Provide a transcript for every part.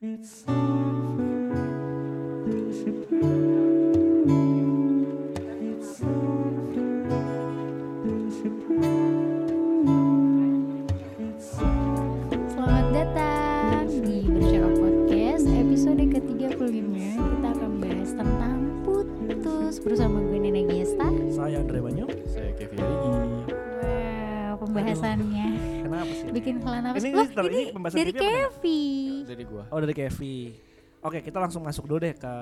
It's over. You should prove it's over. You should prove it's Selamat datang di Bercakap Podcast episode ke-35 Kita akan bahas tentang putus bersama gue Nenek Gesta Saya Andre Banyu. Saya Kevin Rigi. Wow, pembahasannya Kenapa sih? Bikin kelan apa Ini- sih? ini Loh, ter- ini ini pembahasan dari TV apa Kevi Dari gua. Oh dari Kevi. Oke kita langsung masuk dulu deh ke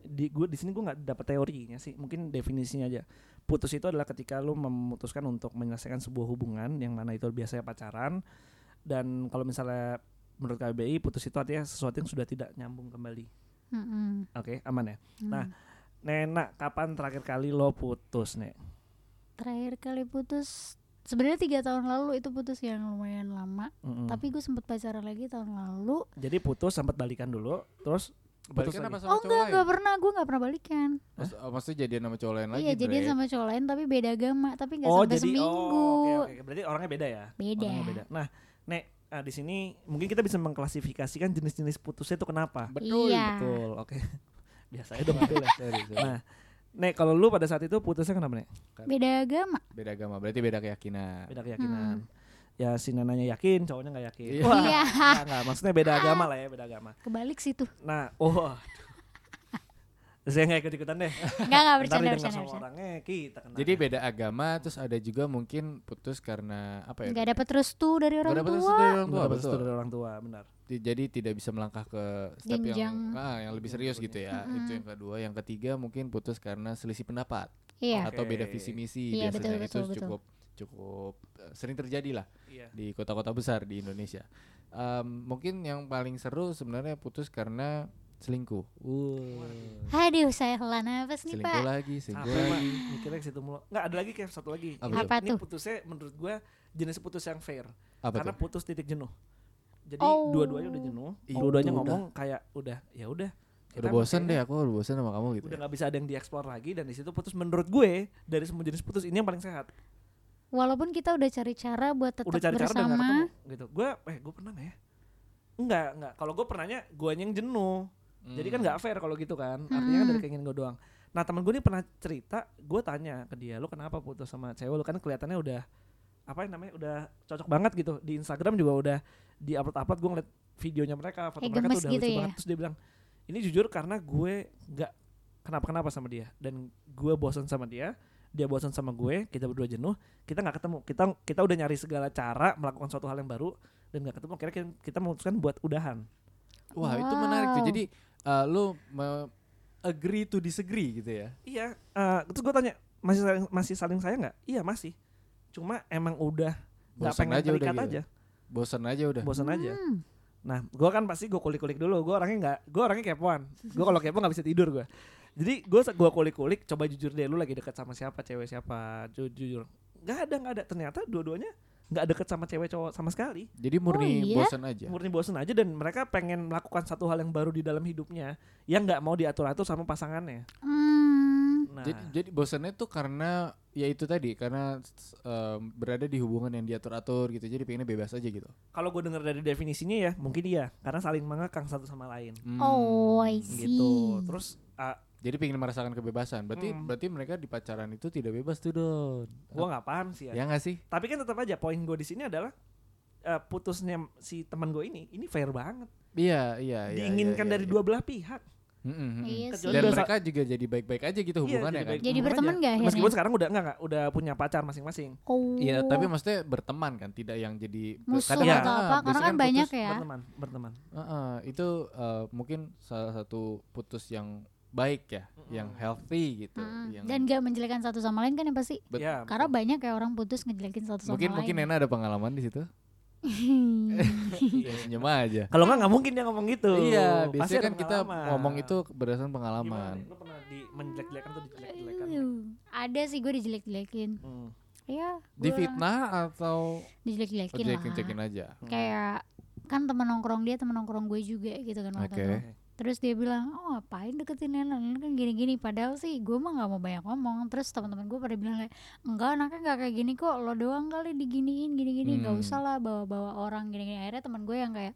di gue di sini gue nggak dapat teorinya sih mungkin definisinya aja putus itu adalah ketika lu memutuskan untuk menyelesaikan sebuah hubungan yang mana itu biasanya pacaran dan kalau misalnya menurut KBI putus itu artinya sesuatu yang sudah tidak nyambung kembali Mm-mm. oke aman ya Nah. Mm. Nenak kapan terakhir kali lo putus nek Terakhir kali putus sebenarnya tiga tahun lalu itu putus yang lumayan lama Mm-mm. Tapi gue sempet pacaran lagi tahun lalu jadi putus sempat balikan dulu terus putus Balikan apa lagi sama Oh cowok enggak, lain? enggak pernah, gue enggak pernah balikan Mas- oh, maksudnya jadian sama cowok lain lagi, Iya, jadian Dre. sama cowok lain tapi beda agama Tapi ya? enggak oh sampai jadi seminggu oh oke oke, oke. berarti orangnya beda ya Beda. Orangnya beda. Nah, Nek, ah, di sini mungkin kita bisa mengklasifikasikan jenis-jenis putusnya itu kenapa. Betul. Iya. Betul, oke. Biasanya dong ambil ya. Sorry, sorry. Nah, Nek, kalau lu pada saat itu putusnya kenapa, Nek? Beda agama Beda agama, berarti beda keyakinan. Beda keyakinan. Ya si nananya yakin, cowoknya nggak yakin. Iya. Wah, Hmm. Iya. nggak, nggak. maksudnya beda agama lah ya, beda agama. kebalik sih tuh Nah, oh. aduh. Saya nggak ikut-ikutan deh. nggak nggak Ntar Oh, bercanda didengar bercanda sama bercanda orangnya, kita kena. Jadi beda agama, terus ada juga mungkin putus karena apa ya? nggak dapat restu dari orang Nggak dapet tua restu ya? dari orang tua, Mendapat restu betul. dari orang tua, benar. Ti- Jadi tidak bisa melangkah ke step Jenjang. yang ah, yang lebih serius gitu ya. Mm-mm. Itu yang kedua, yang ketiga mungkin putus karena selisih pendapat iya atau beda Oke. visi misi Iya, biasanya betul, itu betul, betul. cukup cukup eh, sering terjadi lah. Iya. di kota-kota besar di Indonesia. Em, mungkin yang paling seru sebenarnya putus karena selingkuh. Uh, aduh saya helan nafas nih selingkuh pak lagi, selingkuh Apa, Mak? lagi. Mikirnya ke situ mulu. Nggak, ada lagi kayak satu lagi. Apa Ini- tuh? Apa Ini tuh? putusnya menurut gua jenis putus yang fair. Apa karena tuh? putus titik jenuh. Jadi Oh. dua-duanya udah jenuh, Itu dua-duanya udah. ngomong kayak udah, ya udah. kita Udah bosen deh kayaknya aku, udah bosen sama kamu gitu. Udah ya. nggak bisa ada yang dieksplor lagi dan di situ putus menurut gue dari semua jenis putus ini yang paling sehat. walaupun kita udah cari cara buat tetap udah cari cara dan nggak bersama ketemu gitu. Gue eh gue pernah nggak ya? Enggak, enggak. Kalau gue pernahnya gue yang jenuh. Jadi Hmm. kan nggak fair kalau gitu kan. Artinya kan dari keinginan gue doang. Nah teman gue ini pernah cerita, gue tanya ke dia, lo kenapa putus sama cewek lo kan kelihatannya udah apa yang namanya udah cocok banget gitu di Instagram juga udah di upload upload gue ngeliat videonya mereka foto Kayak mereka gemes tuh udah gitu lucu ya? banget terus dia bilang ini jujur karena gue nggak kenapa kenapa sama dia dan gue bosan sama dia dia bosan sama gue kita berdua jenuh kita nggak ketemu kita kita udah nyari segala cara melakukan suatu hal yang baru dan nggak ketemu akhirnya kita- kita memutuskan buat udahan Wah, itu menarik tuh. Wow. Jadi eh, lu me- agree to disagree gitu ya. Iya, eh terus gue tanya masih saling, masih saling saya nggak? Iya masih. Cuma emang udah nggak Bosen pengen aja udah terikat gitu. Eh. aja, Bosen aja udah. bosan aja. Hmm, Nah, gue kan pasti gue kulik-kulik dulu. Gue orangnya nggak, gue orangnya kepoan. Gue kalau kepo nggak bisa tidur gue. Jadi gue gua kulik-kulik, coba jujur deh lu lagi deket sama siapa, cewek siapa, Ju- jujur. Gak ada, gak ada. Ternyata dua-duanya nggak deket sama cewek cowok sama sekali. Jadi murni iya? bosen aja. Murni bosen aja dan mereka pengen melakukan satu hal yang baru di dalam hidupnya yang nggak mau diatur-atur sama pasangannya. hmm, Nah, Jadi, jadi bosannya tuh karena ya itu tadi karena s- em, berada di hubungan yang diatur-atur gitu. Jadi pengennya bebas aja gitu. kalau gue dengar dari definisinya ya mungkin iya karena saling mengekang satu sama lain Hmm. oh I see gitu terus ah, Jadi pengen merasakan kebebasan. Berarti Mm. berarti mereka di pacaran itu tidak bebas tuh, Don. gue nggak paham sih ya. Ya nggak sih? tapi kan tetap aja poin gue di sini adalah eh, putusnya si teman gue ini ini fair banget Iya, iya, iya. diinginkan dari dua belah pihak Mm-mm, mm-mm. Iya sih. Kecuali Dan dosa- mereka juga jadi baik-baik aja gitu Iya, hubungannya jadi kan. baik- jadi Hubungan berteman aja. nggak meskipun akhirnya sekarang udah enggak, enggak udah punya pacar masing-masing oh Iya, tapi maksudnya berteman kan, tidak yang jadi musuh kadang- atau ah, apa karena biasanya kan banyak putus- ya berteman berteman Heeh, itu eh, mungkin salah satu putus yang baik ya, yang healthy gitu. Mm-mm. Yang Hmm. dan gak menjelekan satu sama lain kan yang pasti Bet- Ya, karena banyak ya orang putus ngejelekin satu sama mungkin ya. lain mungkin Nena ada pengalaman di situ. iya. Senyum aja. kalau enggak nggak mungkin dia ngomong gitu iya, Pasti biasanya ada kan kita pengalaman. ngomong itu berdasarkan Gimana pengalaman. nih, lu pernah di menjelek-jelekan atau dijelek-jelekan Aduh, ada sih gue dijelek-jelekin Hmm. ya gue Di Oh, orang fitnah atau dijelek-jelekin lah cekin aja. kayak kan teman nongkrong dia teman nongkrong gue juga gitu kan waktu Oke. itu. terus dia bilang oh ngapain deketin Nena Nena kan gini-gini padahal sih gue mah nggak mau banyak ngomong terus teman-teman gue pada bilang kayak enggak anaknya nggak kayak gini kok lo doang kali diginiin gini-gini nggak Hmm. usah lah bawa-bawa orang gini-gini akhirnya teman gue yang kayak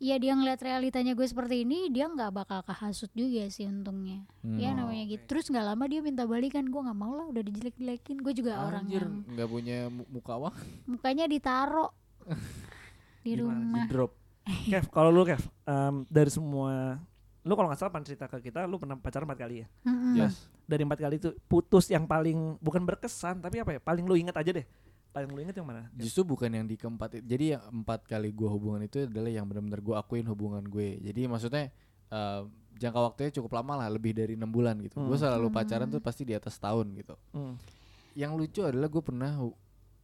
ya dia ngeliat realitanya gue seperti ini dia nggak bakal kehasut juga sih untungnya ya Hmm. namanya gitu Oke. terus nggak lama dia minta balikan gue nggak mau lah udah dijelek-jelekin gue juga orang Anjir, yang nggak punya mu- muka wah, mukanya ditaro Gimana di sih? rumah drop. Kev, kalau lu Kev, em, dari semua lu kalau nggak salah pan cerita ke kita, lu pernah pacaran empat kali ya. Mm-mm. Yes. Dari empat kali itu putus yang paling bukan berkesan, tapi apa ya? Paling lu inget aja deh. Paling lu inget yang mana? Kev? Justru bukan yang di keempat i- Jadi yang empat kali gua hubungan itu adalah yang benar-benar gua akuin hubungan gue Jadi maksudnya eh, jangka waktunya cukup lama lah Lebih dari enam bulan gitu Gue Hmm. selalu pacaran tuh pasti di atas tahun gitu Hmm. Yang lucu adalah gue pernah hu-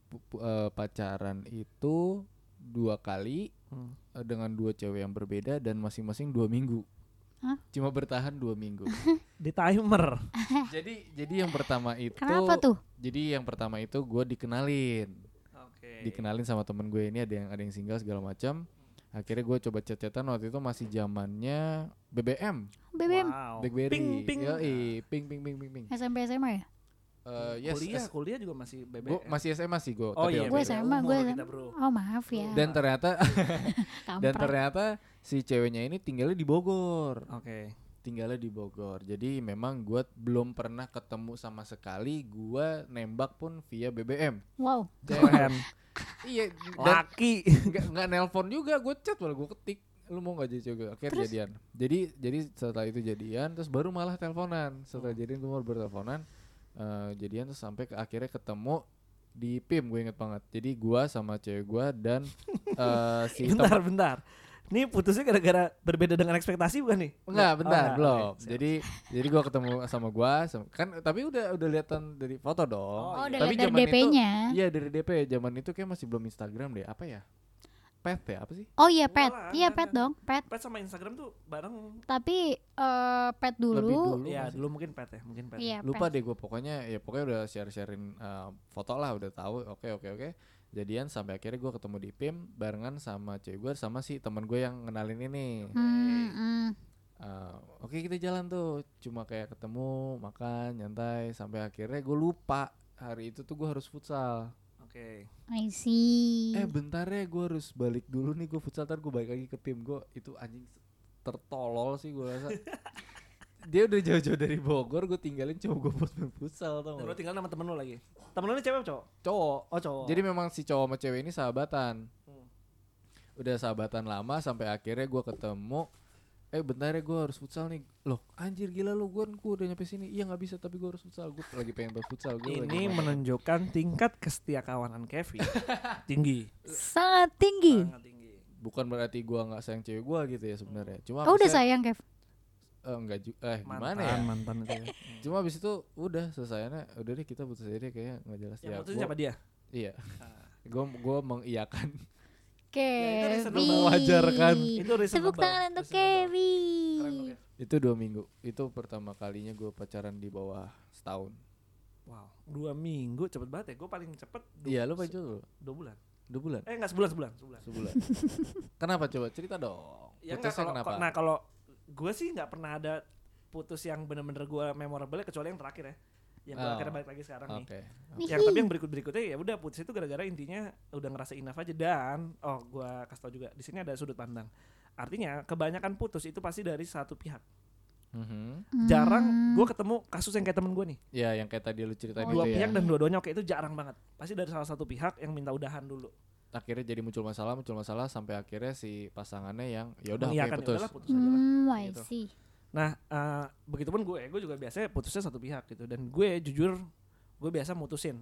pu- pu- eh, pacaran itu dua kali Hmm. eh, Dengan dua cewek yang berbeda dan masing-masing dua minggu Hah? Cuma bertahan dua minggu Di timer. Jadi jadi yang pertama itu kenapa tuh Jadi yang pertama itu gue dikenalin Oke. dikenalin sama temen gue ini ada yang ada yang single segala macam akhirnya gue coba chat-chatan waktu itu masih zamannya BBM BBM Wow. Oh. BlackBerry Ping, ping. Yoi, ping ping ping ping ping SMP SMA ya Eh, yes kuliah, S- kuliah juga masih BBM. gua masih SMA sih gue oh iya, Gue beda SMA, umur gue kita, SMA. Bro. oh maaf ya dan ternyata dan kampret ternyata si ceweknya ini tinggalnya di Bogor Oke. tinggalnya di Bogor jadi memang gue belum pernah ketemu sama sekali gue nembak pun via BBM wow Keren. iya dan Laki. nggak nggak nelpon juga gue chat malah gue ketik lu mau nggak jadi cewek gue? akhirnya Terus? jadian jadi jadi setelah itu jadian terus baru malah teleponan setelah Oh. jadian gue baru berteleponan eh, jadian terus sampai ke akhirnya ketemu di PIM gue inget banget jadi gue sama cewek gue dan eh, si tem- bentar, bentar. Ini putusnya gara-gara berbeda dengan ekspektasi bukan nih? Enggak, Oh, bentar, enggak. belum. Oke, siap. jadi jadi gua ketemu sama gua sama- kan tapi udah udah liatan dari foto dong. Oh, oh udah tapi liat dari zaman itu- DP-nya Iya, dari DP. Zaman itu kayak masih belum Instagram deh. Apa ya? Pet ya, apa sih? oh iya pet Walah, iya ada. pet dong pet Pet sama Instagram tuh bareng. tapi eh, pet dulu Lebih dulu. Iya, masih. dulu mungkin pet ya, mungkin pet. iya lupa pet. deh gue pokoknya ya pokoknya udah share sharein foto lah udah tahu oke oke oke jadian sampai akhirnya gue ketemu di PIM barengan sama cewek gue sama si teman gue yang ngenalin ini Hmm, hmm. Eh, oke kita jalan tuh cuma kayak ketemu makan nyantai sampai akhirnya gue lupa hari itu tuh gue harus futsal Oke. I see eh bentar ya gue harus balik dulu nih gue futsal ntar gue balik lagi ke PIM gue itu anjing tertolol sih gue rasa dia udah jauh-jauh dari Bogor gue tinggalin cuma gue buat main futsal tau Dan lu gak tinggal sama temen lu lagi. Temen lu ini cewek apa cowok? cowok Oh, cowok. Jadi memang si cowok sama cewek ini sahabatan. Hmm. Udah sahabatan lama sampai akhirnya gua ketemu. Eh bentar ya gue harus futsal nih. Loh anjir gila lu gue udah nyampe sini. Iya nggak bisa tapi gua harus futsal. Gue lagi pengen banget futsal. Gua lagi ini pengen. menunjukkan tingkat kesetiakawanan Kevin tinggi. sangat tinggi Sangat tinggi. Bukan berarti gua nggak sayang cewek gua gitu ya sebenarnya. Cuma oh udah abisnya- sayang Ya, Kev Eh, enggak ju- eh Mantan, gimana ya? mantan itu ya. Cuma abis itu udah selesainya udah deh kita putus aja deh kayaknya nggak jelas Yang ya. putusin gua- siapa Ah. dia? Iya. Gue gua mengiyakan. Ya, itu Kevin reasonable. Mewajarkan. Itu reasonable. tepuk tangan untuk Keren lu, Kevin Kev. itu dua minggu. Itu pertama kalinya gua pacaran di bawah setahun. Wow, dua minggu cepet banget ya. Gue paling cepet dua, Iya lu pacaran dulu? dua bulan. Dua bulan. Eh enggak sebulan sebulan sebulan. sebulan. kenapa coba cerita dong? Ya enggak Putusnya kalau kenapa? nah kalau gue sih nggak pernah ada putus yang bener-bener gue memorable kecuali yang terakhir ya. Yang gue Oh. akhirnya balik lagi sekarang nih. Oke. Yang Iya, tapi yang berikut-berikutnya ya udah putus itu gara-gara intinya udah ngerasa enough aja dan oh gua kasih tau juga di sini ada sudut pandang. Artinya kebanyakan putus itu pasti dari satu pihak. Mhm. Jarang Hmm. gua ketemu kasus yang kayak temen gua nih. Ya yang kayak tadi lu ceritain Dua itu ya. pihak dan dua-duanya oke itu jarang banget. Pasti dari salah satu pihak yang minta udahan dulu. Akhirnya jadi muncul masalah, muncul masalah sampai akhirnya si pasangannya yang ya udah oke Mengiyakan, putus. "Yaudahlah, putus aja lah." Hmm, I Gitu. see. Nah, eh begitupun gue, gue juga biasanya putusnya satu pihak gitu dan gue jujur gue biasa mutusin.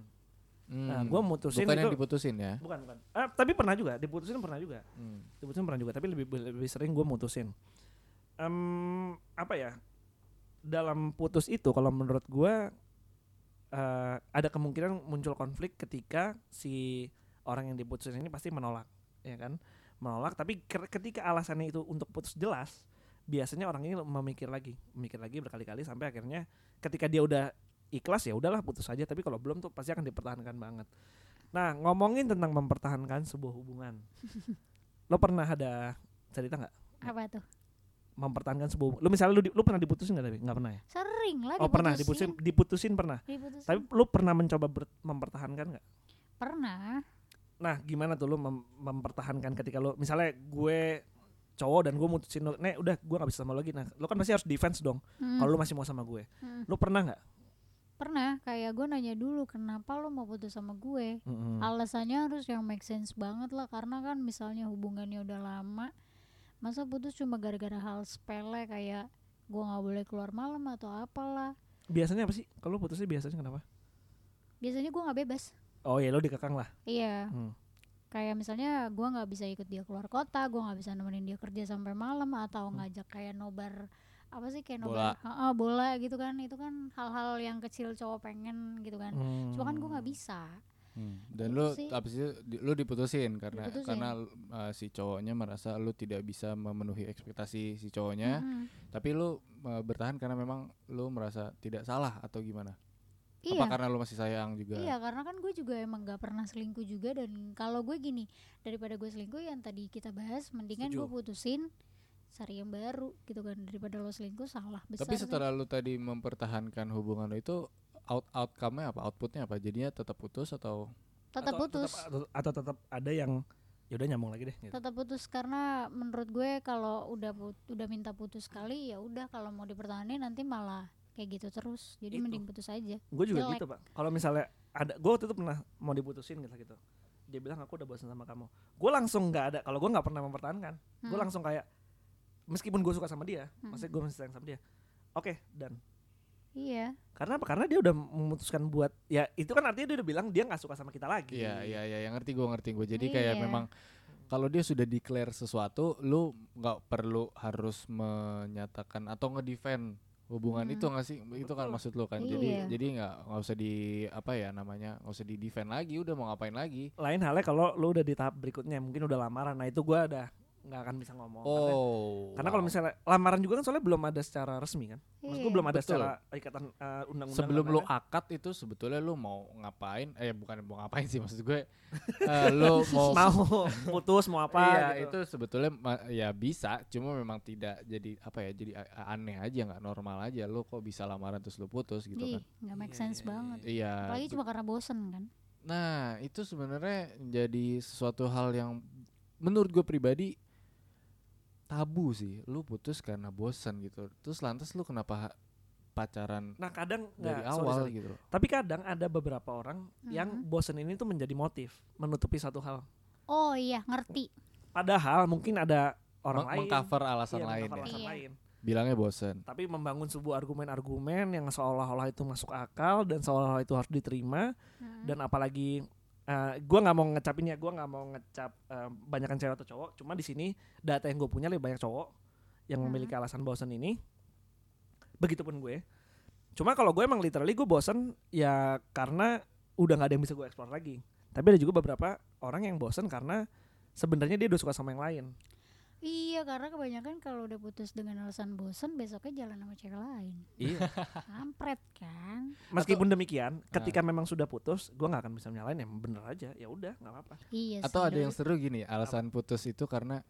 Hmm. Nah, gua mutusin Bukan yang itu diputusin ya. bukan bukan. Ah, tapi pernah juga diputusin pernah juga. Hmm. Diputusin pernah juga, tapi lebih lebih sering gue mutusin. Em, apa ya? Dalam putus itu kalau menurut gue eh, ada kemungkinan muncul konflik ketika si orang yang diputusin ini pasti menolak, ya kan? Menolak, tapi ke- ketika alasannya itu untuk putus jelas, biasanya orang ini memikir lagi, memikir lagi berkali-kali sampai akhirnya ketika dia udah ikhlas ya udahlah putus aja, tapi kalau belum tuh pasti akan dipertahankan banget. Nah, ngomongin tentang mempertahankan sebuah hubungan. lo pernah ada cerita nggak apa tuh mempertahankan sebuah lo misalnya lo, di, lo pernah diputusin nggak tapi nggak pernah ya sering lah oh pernah diputusin diputusin pernah Diputusin. tapi lo pernah mencoba ber- mempertahankan nggak pernah nah gimana tuh lo mem- mempertahankan ketika lo misalnya gue cowok dan gue mutusin lo, nek udah gue nggak bisa sama lo lagi. Nah, lo kan pasti harus defense dong. Mm, Kalau lo masih mau sama gue, mm. lo pernah nggak? pernah kayak gue nanya dulu kenapa lo mau putus sama gue Mm-mm. alasannya harus yang make sense banget lah karena kan misalnya hubungannya udah lama masa putus cuma gara-gara hal sepele kayak gue nggak boleh keluar malam atau apalah Biasanya apa sih? Kalau lo putusnya biasanya kenapa? biasanya gue nggak bebas Oh ya lo dikekang lah. iya Hmm. kayak misalnya gue nggak bisa ikut dia keluar kota gue nggak bisa nemenin dia kerja sampai malam atau ngajak kayak nobar apa sih kayak nobar Heeh, bola gitu kan itu kan hal-hal yang kecil cowok pengen gitu kan Hmm. cuma kan gue nggak bisa Hmm. Dan Itu lu sih. abis itu di- lu diputusin karena Diputusin. karena uh, si cowoknya merasa lu tidak bisa memenuhi ekspektasi si cowoknya, Mm-mm. tapi lu uh, bertahan karena memang lu merasa tidak salah atau gimana? iya Apa karena lu masih sayang juga? Iya karena kan gue juga emang gak pernah selingkuh juga dan kalau gue gini daripada gue selingkuh yang tadi kita bahas mendingan Setuju. gue putusin cari yang baru gitu kan daripada lo selingkuh salah besar. Tapi sih. setelah lu tadi mempertahankan hubungan lu itu out outcome-nya apa? Outputnya apa? Jadinya tetap putus atau Atau tetap putus, atau- atau tetap ada yang ya udah nyambung lagi deh. Gitu. tetap putus karena menurut gue kalau udah put- udah minta putus kali ya udah kalau mau dipertahankan nanti malah kayak gitu terus. Jadi Itu. mending putus aja. Gue juga Jelek. gitu pak. Kalau misalnya ada, gue waktu itu pernah mau diputusin gitu gitu. Dia bilang aku udah bosan sama kamu. Gue langsung nggak ada. Kalau gue nggak pernah mempertahankan, gue Hmm. langsung kayak meskipun gue suka sama dia, Hmm. maksudnya gue masih sayang sama dia. Oke, dan Iya. karena apa? Karena dia udah memutuskan buat ya itu kan artinya dia udah bilang dia nggak suka sama kita lagi. Iya, iya, iya, yang ngerti gue ngerti gue. Jadi kayak Iya. memang kalau dia sudah declare sesuatu, lu nggak perlu harus menyatakan atau ngedefend hubungan Hmm. itu nggak sih? Itu kan Betul. maksud lu kan. Jadi Iya. jadi nggak nggak usah di apa ya namanya nggak usah di defend lagi. Udah mau ngapain lagi? Lain halnya kalau lo udah di tahap berikutnya, mungkin udah lamaran. Nah itu gue udah nggak akan bisa ngomong. Karena- Oh. Karena kalau misalnya lamaran juga kan soalnya belum ada secara resmi kan. Maksud gue Iya. belum ada Betul. secara ikatan eh, undang-undang. sebelum lu lain-lain. akad itu sebetulnya lu mau ngapain? Eh bukan mau ngapain sih maksud gue. Eh, lu mau mau putus mau apa iya, gitu. itu sebetulnya ma- ya bisa cuma memang tidak jadi apa ya jadi a- a- aneh aja nggak normal aja lo kok bisa lamaran terus lo putus gitu Ih, kan nggak make Iya, sense iya, iya, banget. iya Apalagi be- cuma karena bosen kan. nah itu sebenarnya jadi sesuatu hal yang menurut gue pribadi tabu sih lu putus karena bosan gitu terus lantas lu kenapa ha- pacaran Nah kadang dari nggak sorry, awal sorry. gitu loh Tapi kadang ada beberapa orang yang Mhm. bosen ini tuh menjadi motif menutupi satu hal. Oh iya ngerti. Padahal mungkin ada orang lain. Meng- mengcover alasan Iya, lain mengcover ya alasan Iya. lain. bilangnya bosan Tapi membangun sebuah argumen-argumen yang seolah-olah itu masuk akal dan seolah-olah itu harus diterima Mm. Hmm. dan apalagi eh, gua nggak mau ngecapin ya, gua nggak mau ngecap eh, banyakan cewek atau cowok. Cuma di sini data yang gue punya lebih banyak cowok yang Mhm. memiliki alasan bosan ini. Begitupun gue. Cuma kalau gue emang literally gue bosan ya karena udah nggak ada yang bisa gue explore lagi. Tapi ada juga beberapa orang yang bosan karena sebenarnya dia udah suka sama yang lain. Iya karena kebanyakan kalau udah putus dengan alasan bosen besoknya jalan sama cewek lain. Iya. Kampret kan? Meskipun demikian, ketika memang sudah putus, gue nggak akan bisa menyalahin ya bener aja. Ya udah nggak apa-apa. Iya atau sih. ada yang seru gini alasan putus itu karena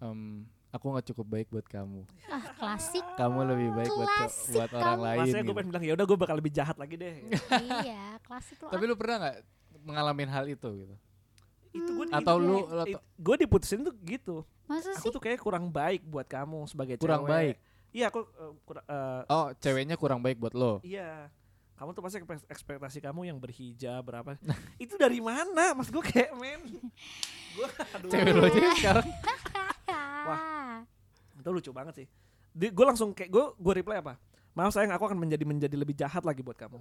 em, aku nggak cukup baik buat kamu ah klasik. kamu lebih baik buat co- Klasik buat orang kamu. lain Maksudnya gue gitu. pengen bilang ya udah gue bakal lebih jahat lagi deh. ya. iya, klasik lo. tapi lu pernah nggak mengalami hal itu gitu itu gue atau lu atau- gue diputusin tuh gitu Masa aku sih? tuh kayak kurang baik buat kamu sebagai Kurang cewek. baik? iya aku eh, kur- eh, oh ceweknya kurang baik buat lo iya kamu tuh pasti ekspek- ekspektasi kamu yang berhijab berapa itu dari mana mas gue kayak men gue aduh cewek lo aja sekarang itu lucu banget sih gue langsung kayak gue gue reply apa maaf sayang aku akan menjadi menjadi lebih jahat lagi buat kamu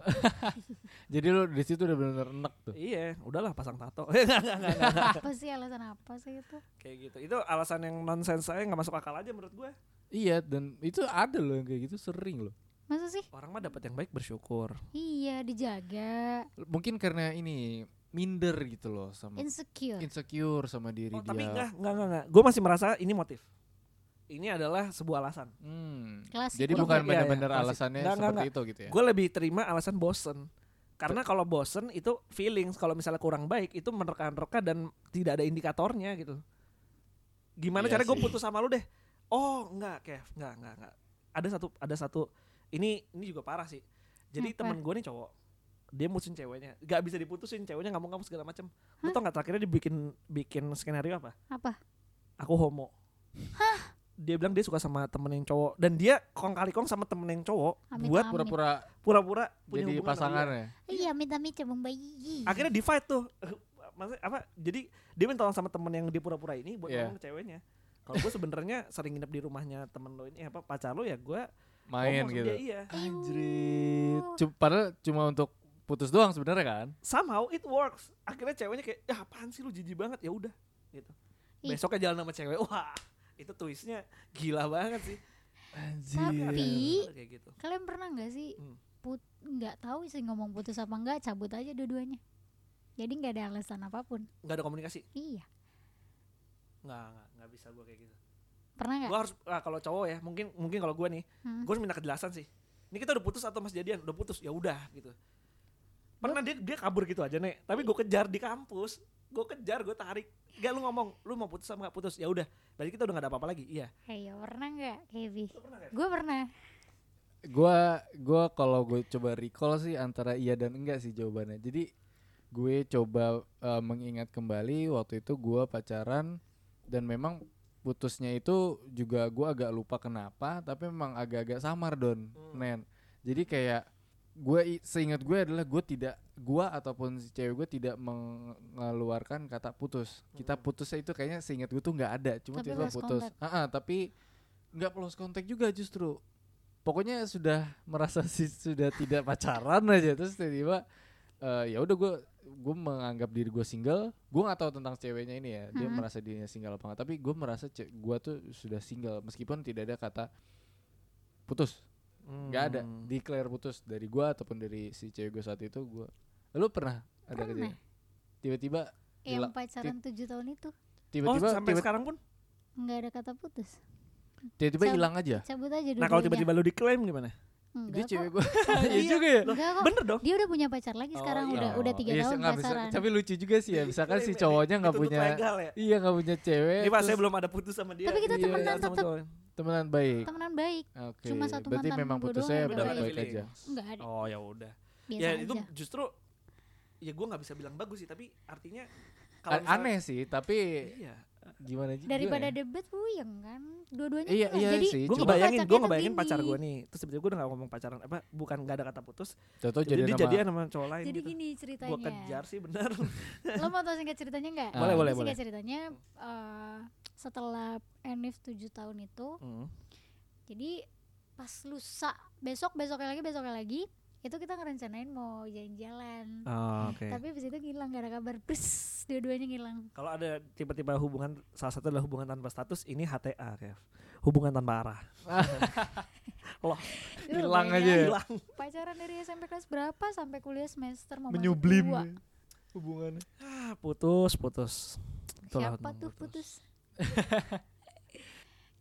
jadi lo di situ udah bener-bener enek tuh iya udahlah pasang tato Nggak, nggak, nggak, nggak. apa sih alasan apa sih itu? kayak gitu itu alasan yang nonsens saya nggak masuk akal aja menurut gue iya dan itu ada lo yang kayak gitu sering lo Masa sih? orang mah dapat yang baik bersyukur Iya, dijaga, mungkin karena ini minder gitu loh sama Gitu. insecure. insecure sama diri Oh, dia tapi enggak, enggak, enggak, enggak. Gue masih merasa ini motif. Ini adalah sebuah alasan. Hmm. Klasik. jadi orang bukan Iya, iya, bener-bener masih- alasannya Nggak, nggak, seperti itu gitu ya Gue lebih terima alasan bosen. Karena kalau bosen itu feelings. Kalau misalnya kurang baik itu menerka-nerka dan tidak ada indikatornya gitu. Gimana Iya cara gue sih. putus sama lu deh? Oh enggak, Kev. Enggak, enggak, enggak. Ada satu, ada satu. Ini, ini juga parah sih. Jadi Apa? temen gue nih cowok. Dia mutusin ceweknya. Gak bisa diputusin. Ceweknya nggak mau kamu segala macem. Lu tau gak terakhirnya dibikin bikin skenario apa? Apa? Aku homo. Hah? dia bilang dia suka sama temen yang cowok dan dia kong kali kong sama temen yang cowok Amit buat amit. pura-pura pura-pura punya jadi hubungan sama dia. pasangan ya Iya, minta amit cebong bayi. akhirnya di fight tuh Eh, maksudnya apa jadi dia minta tolong sama temen yang di pura-pura ini buat Iya. ngomong ke ceweknya kalau gue sebenarnya sering nginep di rumahnya temen lo ini apa pacar lo ya gue main ngomong sama gitu dia, iya Anjrit. Cu- padahal cuma untuk putus doang sebenarnya kan somehow it works akhirnya ceweknya kayak ya apaan sih lu jijik banget ya udah gitu Ih. besoknya jalan sama cewek wah itu twistnya gila banget sih Iya. Tapi- Ada kayak gitu Kalian pernah nggak sih Hmm. put nggak tahu sih ngomong putus apa enggak, cabut aja dua-duanya. Jadi nggak ada alasan apapun. nggak ada komunikasi Iya. nggak nggak nggak bisa gue kayak gitu Pernah nggak? gue harus ah, kalau cowok ya mungkin mungkin kalau gue nih Hmm. gue harus minta kejelasan sih ini kita udah putus atau masih jadian udah putus ya udah gitu pernah dia dia kabur gitu aja nek tapi gue kejar di kampus gue kejar gue tarik gak lu ngomong lu mau putus sama nggak putus ya udah berarti kita udah gak ada apa-apa lagi iya Ayo, Eh, pernah nggak, Kevi? Lu pernah nggak? Gue pernah. gua gua kalau gue coba recall sih antara iya dan enggak sih jawabannya jadi gue coba eh, mengingat kembali waktu itu gua pacaran dan memang putusnya itu juga gua agak lupa kenapa tapi memang agak-agak samar don nen jadi kayak gue i- seingat gue adalah gue tidak gua ataupun si cewek gue tidak mengeluarkan kata putus kita putusnya itu kayaknya seingat gue tuh nggak ada cuma Tapi tiba lost putus contact. Ah, ah, tapi nggak lost kontak juga justru pokoknya sudah merasa sih sudah tidak pacaran aja terus tiba-tiba eh, ya udah gue gue menganggap diri gue single gue nggak tahu tentang ceweknya ini ya dia Mm-mm. merasa dirinya single apa nggak tapi gue merasa ce- gue tuh sudah single meskipun tidak ada kata putus nggak ada Oh, Hmm. declare putus dari gue ataupun dari si cewek gue saat itu gue lu pernah ada Pernah. Oh, kejadian tiba-tiba Yang hilang. pacaran tujuh tahun itu oh tiba-tiba sampai tiba- sekarang pun nggak ada kata putus. tiba-tiba Sam- hilang aja Cabut aja dua-duanya. nah kalau tiba-tiba lu diklaim gimana Enggak dia cewek kok. gue iya Iya. juga ya Loh, Enggak kok. bener dong Dia udah punya pacar lagi Oh, sekarang iya. udah udah tiga iya sih, tahun nggak bisa. pasaran. tapi lucu juga sih ya misalkan si Diklaim, cowoknya nggak dituntut punya Iya, legal ya iya nggak punya cewek ini pas saya terus belum ada putus sama dia Tapi kita Iya, temenan sama tetep. cowoknya. temenan baik Temenan baik. oke Cuma satu berarti mantan memang gua putusnya doang yang baik udah baik ada aja Enggak ada. oh ya udah Biasa ya aja. itu justru ya gue nggak bisa bilang bagus sih tapi artinya A- misalnya- aneh sih tapi iya gimana juga Daripada ya? debat puyeng kan. Dua-duanya iya enggak. iya Jadi sih gue cuma cuma ngebayangin gue kocaknya ngebayangin begini. pacar gue nih terus tiba-tiba gue udah gak ngomong pacaran apa bukan gak ada kata putus contoh jadi jadi dia jadian sama cowok lain jadi gitu gini gue ceritanya. kejar sih bener Lo mau tau singkat ceritanya enggak? Ah. Boleh, boleh, Singkat boleh. ceritanya eh, setelah Enif 7 tahun itu Hmm. Jadi pas lusa besok besoknya lagi besoknya lagi itu kita ngerencanain mau jalan-jalan. Oh, oke Tapi abis itu ngilang gak ada kabar. Bes, dua-duanya ngilang. kalau ada tiba-tiba hubungan salah satu adalah hubungan tanpa status ini HTA Kev hubungan tanpa arah loh Itu Hilang lumayan. aja ya. hilang Pacaran dari SMP kelas berapa sampai kuliah semester mau masuk menyublim dua. Iya. hubungannya Ah, putus putus Itulah Siapa hubungan tuh putus?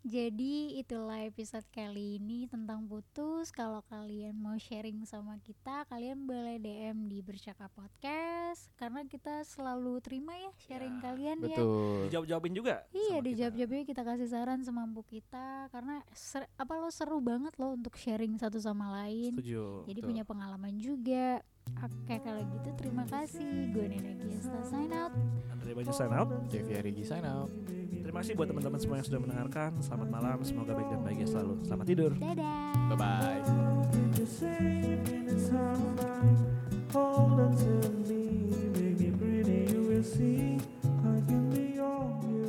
Jadi itulah episode kali ini tentang putus. Kalau kalian mau sharing sama kita, kalian boleh DM di Bercakap Podcast karena kita selalu terima ya sharing Ya, kalian ya. betul dijawab-jawabin juga Iya sama kita. di jawab jawabnya kita kasih saran semampu kita karena ser- apa lo seru banget lo untuk sharing satu sama lain. setuju Jadi betul. punya pengalaman juga. Oke kalau gitu terima kasih. Gue Nena Giesta sign out. Andre Bayu sign out Oh. Kevi Arigi sign out Terima kasih buat teman-teman semua yang sudah mendengarkan. Selamat malam, semoga baik dan bahagia selalu. Selamat tidur. Dadah. bye bye you're safe in his arms. Hold on to me, make me pretty. You will see I can be all you